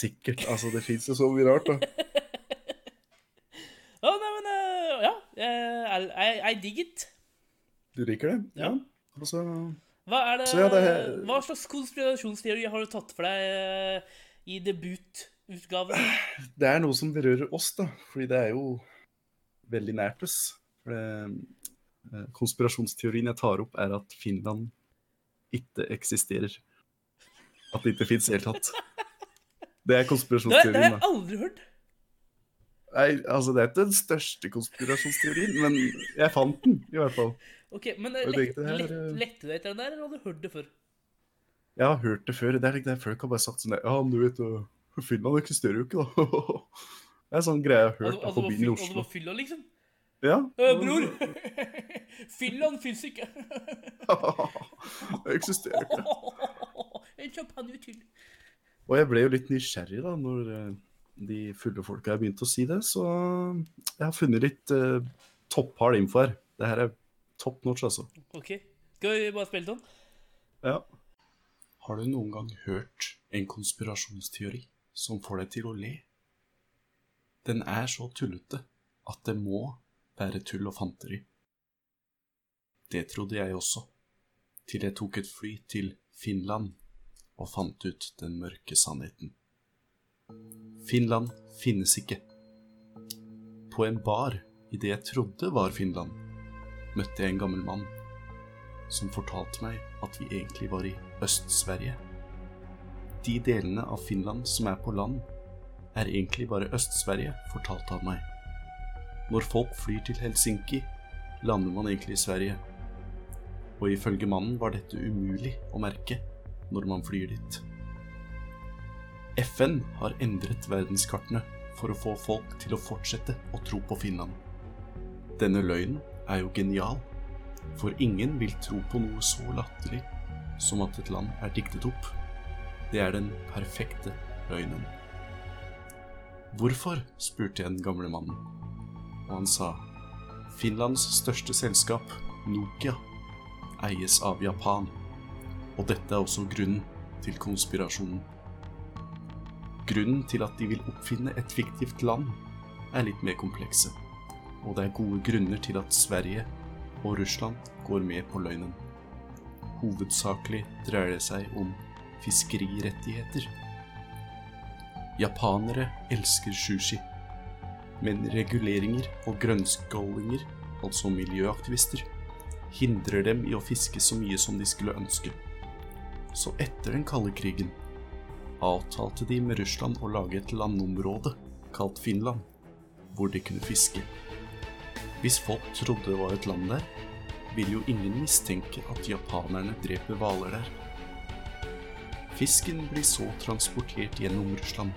A: Sikkert. Altså, det fins jo så mye rart, da.
B: Å, nei, men eh, Ja. Jeg, jeg, jeg digger it.
A: Du liker det? Altså,
B: Ja.
A: Og så
B: Hva, er det,
A: Så ja, det-
B: hva slags konspirasjonsteori har du tatt for deg eh, i
A: [CLEARS THROAT]
B: debututgaven?
A: Det er noe som berører oss, da. Fordi det er jo veldig nært oss. For det, eh, konspirasjonsteorien jeg tar opp, er at Finland ikke eksisterer. At det ikke fins i det hele
B: [LAUGHS]
A: tatt. Det er
B: Det, det har
A: konspirasjonsteorien,
B: jeg
A: da.
B: aldri hørt.
A: Nei, altså, det er ikke den største konspirasjonsteorien, men jeg fant den, i hvert fall.
B: Ok, Men
A: Og
B: eh,
A: jeg
B: lett,
A: tenkte, det
B: lett,
A: her, eh,
B: lette du etter den der, eller hadde du hørt det før?
A: Jeg har hørt det før. Det er like det folk har bare sagt sånn der, Ja, men du vet, øh, Finland eksisterer jo ikke, da. [LAUGHS] Det er sånn greie jeg har hørt
B: Hadde,
A: da,
B: hadde,
A: på
B: var,
A: byen i
B: Altså, fyll, hadde
A: Oslo.
B: var fylla, liksom?
A: Ja.
B: Eh,
A: [LAUGHS]
B: bror! [LAUGHS] Finland fins ikke. [LAUGHS]
A: [LAUGHS] det eksisterer ikke.
B: en champagne til.
A: Og jeg ble jo litt nysgjerrig da, når eh, de fulle folka begynte å si det, så eh, jeg har funnet litt eh, topphard info her. Det her er top notch, altså.
B: Ok, skal vi bare spille sånn?
A: Ja. Har du noen gang hørt en konspirasjonsteori som får deg til å le? Den er så tullete at det må være tull og fanteri. Det trodde jeg også, til jeg tok et fly til Finland og fant ut den mørke sannheten. Finland finnes ikke. På en bar i det jeg trodde var Finland, møtte jeg en gammel mann som fortalte meg at vi egentlig var i Øst-Sverige. De delene av Finland som er på land, er egentlig bare Øst-Sverige, fortalte han meg. Når folk flyr til Helsinki, lander man egentlig i Sverige. Og ifølge mannen var dette umulig å merke når man flyr dit. FN har endret verdenskartene for å få folk til å fortsette å tro på Finland. Denne løgnen er jo genial. For ingen vil tro på noe så latterlig som at et land er diktet opp. Det er den perfekte løgnen. Hvorfor? spurte jeg den gamle mannen, og han sa Finlands største selskap, Nokia, eies av Japan. Og dette er også grunnen til konspirasjonen. Grunnen til at de vil oppfinne et fiktivt land, er litt mer komplekse. Og det er gode grunner til at Sverige og Russland går med på løgnen. Hovedsakelig dreier det seg om fiskerirettigheter. Japanere elsker sushi, men reguleringer og grønnskålinger, altså miljøaktivister, hindrer dem i å fiske så mye som de skulle ønske. Så etter den kalde krigen avtalte de med Russland å lage et landområde kalt Finland, hvor de kunne fiske. Hvis folk trodde det var et land der, ville jo ingen mistenke at japanerne dreper hvaler der. Fisken blir så transportert gjennom Russland,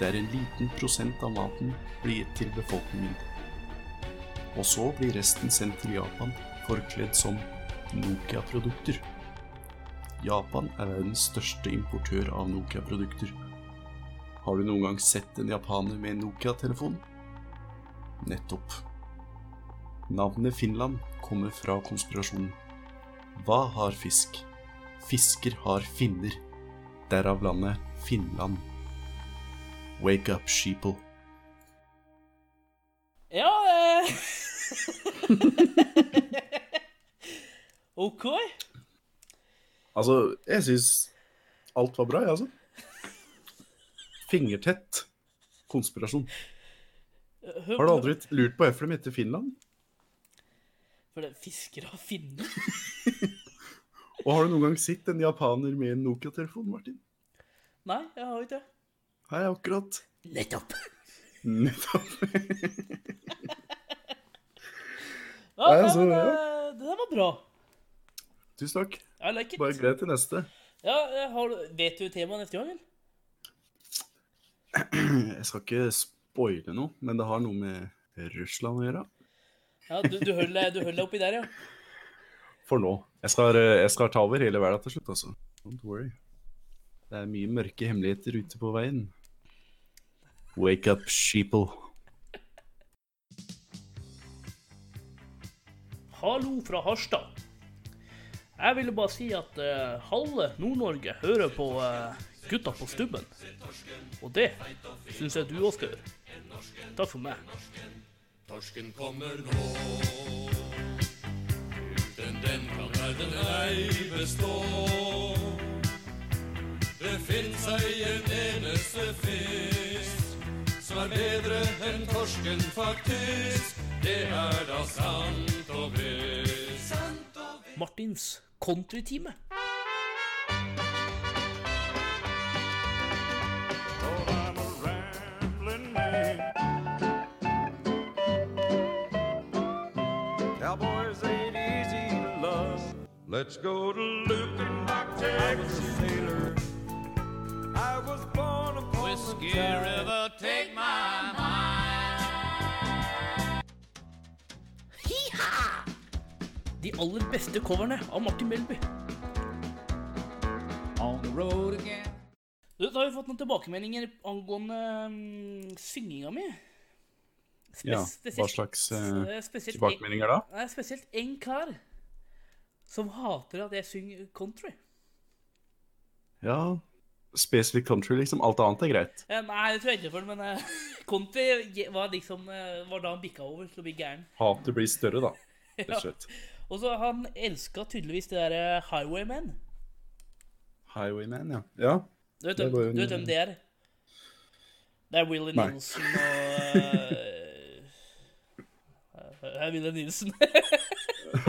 A: der en liten prosent av maten blir gitt til befolkningen. Og så blir resten sendt til Japan forkledd som Nokia-produkter. Japan er verdens største importør av Nokia-produkter. Har du noen gang sett en japaner med en Nokia-telefon? Nettopp. Navnet Finland kommer fra konspirasjonen. Hva har fisk? Fisker har finner. Derav landet Finland. Wake up, sheeple.
B: Ja eh. [LAUGHS] Ok. Eh,
A: Altså, jeg syns alt var bra, jeg, altså. Fingertett konspirasjon.
B: Hør
A: Har du
B: på-
A: aldri lurt på hvorfor de heter Finland?
B: For det er fiskere og finner.
A: Og har du noen gang sett en japaner med en Nokia-telefon, Martin?
B: Nei, jeg har ikke det.
A: Hei, akkurat.
B: Nettopp.
A: Nettopp.
B: Ja,
A: Nei,
B: nei,
A: altså,
B: men,
A: ja.
B: eh, Det der var bra.
A: Tusen takk.
B: I like
A: Bare
B: it.
A: gled til neste.
B: Ja, eh, har, du- vet du temaet neste gang, eller?
A: Jeg skal ikke spoile noe, men det har noe med Russland å gjøre.
B: Ja, du, du holder deg- du holder deg oppi der, ja.
A: For nå. Jeg skal, jeg skal ta over hele verden til slutt, altså. Don't worry. Det er mye mørke hemmeligheter ute på veien. Wake up, sheeple.
B: Hallo fra Harstad. Jeg ville bare si at eh, halve Nord-Norge hører på eh, gutta på stubben. Og det syns jeg du òg skal gjøre. Takk for meg.
C: Torsken kommer nå. Uten den kan verden ei bestå. Det fins ei en eneste fisk som er bedre enn torsken, faktisk. Det er da sant og visst.
B: Martins countrytime.
D: I'm a rambling man. Cowboys ain't easy to love. Let's go to Luke and Mark I was a sailor. I was born upon Whiskey the
C: River, take my
B: De aller beste coverne av Martin Melby.
C: On the road again.
B: Du, da har vi fått noen tilbakemeldinger angående mm, synginga mi. Spes-
A: Ja, hva
B: spesielt-
A: slags
B: eh,
A: eh,
B: spesielt-
A: tilbakemeldinger da?
B: Nei, spesielt én kar som hater at jeg synger country.
A: Ja, spesifikt country, liksom. Alt annet er greit.
B: Eh, Nei, det tror jeg ikke for, men eh, [LAUGHS] Conti ge- var liksom eh, Var da han bikka over til å bli gæren.
A: Hatet blir større,
B: [LAUGHS]
A: da. Rett og slett.
B: Og så han elska tydeligvis det derre Highwaymen.
A: Highwayman, ja. Ja, [LAUGHS]
B: Du vet,
A: Det
B: hvem,
A: var jo en-
B: du vet hvem det er? Det er Willy
A: Nei.
B: Nilsen og eh, [LAUGHS] Det er Willy Nilsen.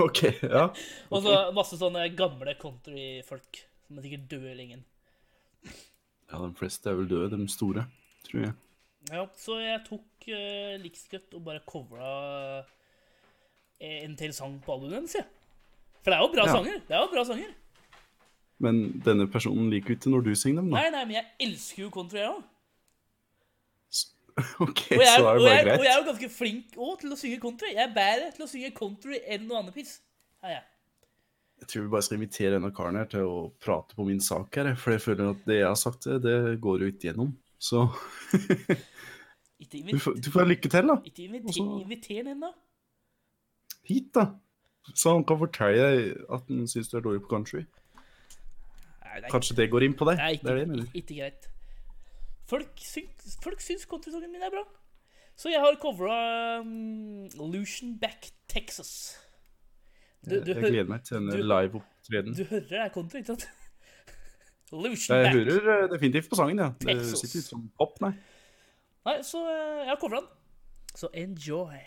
A: ok. Ja.
B: og så masse sånne gamle countryfolk som er sikkert døde lenge.
A: ja, de fleste er vel døde, de store, tror jeg.
B: Ja, så jeg tok uh, Likscut og bare covra en til sang på albumet hennes, jeg. For det er jo bra
A: Ja.
B: sanger. Det er jo bra sanger.
A: Men denne personen liker jo ikke når du synger dem, da.
B: Nei, nei, men jeg elsker jo country, jeg òg.
A: [LAUGHS] Ok,
B: Og,
A: så
B: jeg er-
A: er det
B: og,
A: bare
B: jeg- og jeg
A: greit.
B: er jo ganske flink også til å synge country. Jeg er bedre til å synge country enn noe annet piss. Ja, ja.
A: Jeg tror vi bare skal invitere denne karen her til å prate på min sak her, for jeg føler at det jeg har sagt, det går jo ikke gjennom. Så
B: Ikke,
A: du
B: inviter,
A: får, du får lykke til, da.
B: ikke inviter,
A: Og så-
B: inviter den, da.
A: Hit, da. Så han kan fortelle deg at han syns du er dårlig på country.
B: Nei, det er,
A: Kanskje det går inn på deg.
B: det
A: Det
B: er
A: er det jeg
B: ikke,
A: mener.
B: ikke, ikke greit. Folk syns, folk syns countrysangen min er bra. Så jeg har covra um, Lucian Back Texas. Du, du,
A: Jeg
B: hø-
A: gleder meg til denne
B: du-
A: live-opptreden.
B: du hører det er country, ikke sant? [LAUGHS] Lucian
A: Jeg
B: Back.
A: hører eh, definitivt på sangen, ja. Det
B: Texas.
A: sitter ikke som pop, nei.
B: Nei, så eh, jeg har covra den. Så enjoy.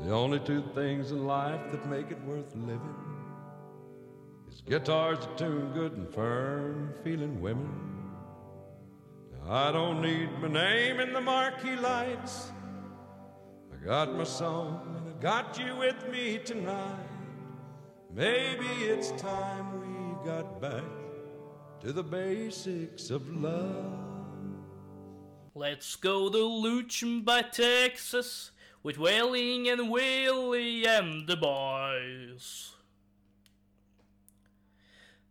D: The only two things in life that make it worth living is guitars that tune good and firm feeling women. Now, I don't need my name in the marquee lights. I got my song and I got you with me tonight. Maybe it's time we got back to the basics of love.
B: Let's go to Luchin by Texas with Wailing and Willie and the boys.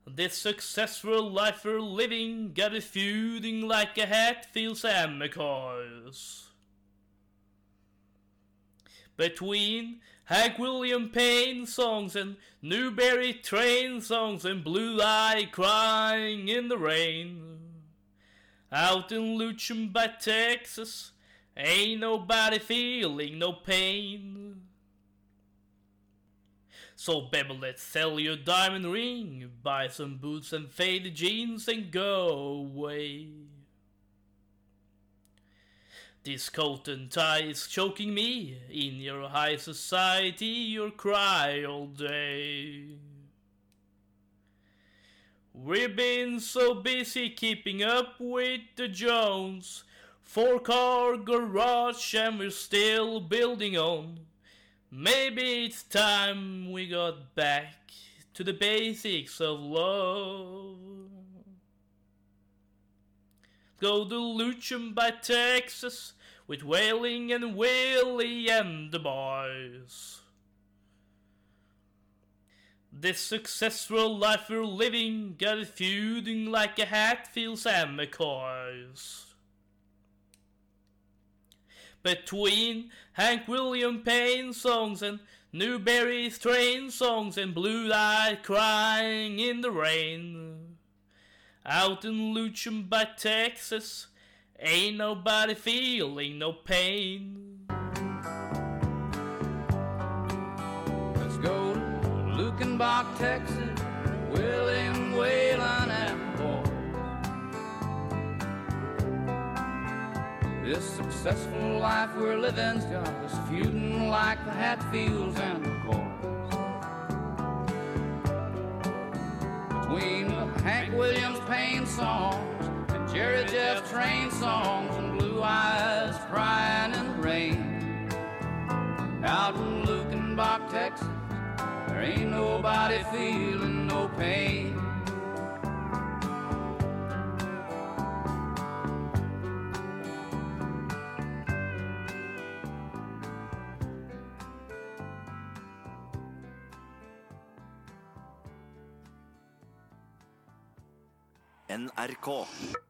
B: This successful life we're living got us feuding like a Hatfields and McCoys. Between Hank William Payne songs and Newberry Train songs and Blue Eye crying in the rain. Out in Luchin by Texas, ain't nobody feeling no pain. So, baby, let's sell your diamond ring, buy some boots and faded jeans, and go away. This coat and tie is choking me. In your high society, you cry all day. We've been so busy keeping up with the Jones. Four car garage, and we're still building on. Maybe it's time we got back to the basics of love. Go to Luchem by Texas with Wailing and Willie and the boys. This successful life we're living got it feuding like a Hatfields and McCoys between Hank William Payne songs and Newberry's train songs and blue eyed crying in the rain. Out in Luchem by Texas, ain't nobody feeling no pain.
E: Let's go to Lukenbach, Texas. William Whalen and boy. This successful life we're living's got us feuding like the Hatfields and the Coys. Between the Hank Williams Payne songs and Jerry Jeff Train songs and Blue Eyes crying in the rain. Out in Lukenbach, Texas. There ain't nobody feeling no pain.
F: NRK.